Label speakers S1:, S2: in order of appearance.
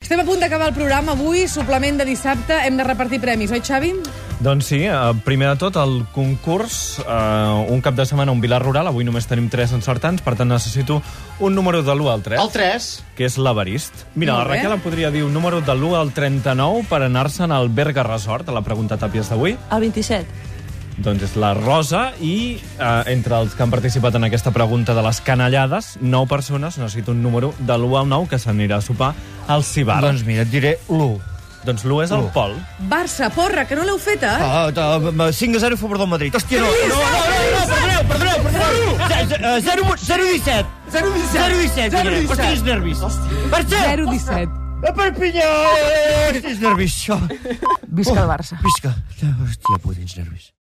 S1: Estem a punt d'acabar el programa avui, suplement de dissabte. Hem de repartir premis, oi, Xavi?
S2: Doncs sí, eh, primer de tot, el concurs, eh, un cap de setmana, un vilar rural. Avui només tenim 3 encertants, per tant necessito un número de l'1 al 3,
S3: El 3.
S2: que és l'Avarist. Mira,
S1: Molt
S2: la
S1: bé.
S2: Raquel em podria dir un número de l'1 al 39 per anar-se'n al Berga Resort, a la pregunta tàpies d'avui.
S4: El 27.
S2: Doncs és la Rosa i eh, entre els que han participat en aquesta pregunta de les canallades, 9 persones, necessito un número de l'1 al 9 que s'anirà a sopar al Cibar.
S3: Doncs mira, et diré l'1.
S2: doncs l'1 és el
S3: u.
S2: Pol.
S1: Barça, porra, que no l'heu feta, eh?
S3: Ah, ah, ah, 5 a 0 a favor del Madrid. Hòstia, no, no, no, no, no, perdoneu, perdoneu, eh, perdoneu. 0, 0 17. 0 17. 0 17. 0 17. Hòstia, és nervis. Barça!
S1: 0-17.
S3: A Perpinyà! Hòstia, és Oh, nervis, això.
S4: Visca el Barça.
S3: Visca. Hòstia, puta, ets nervis.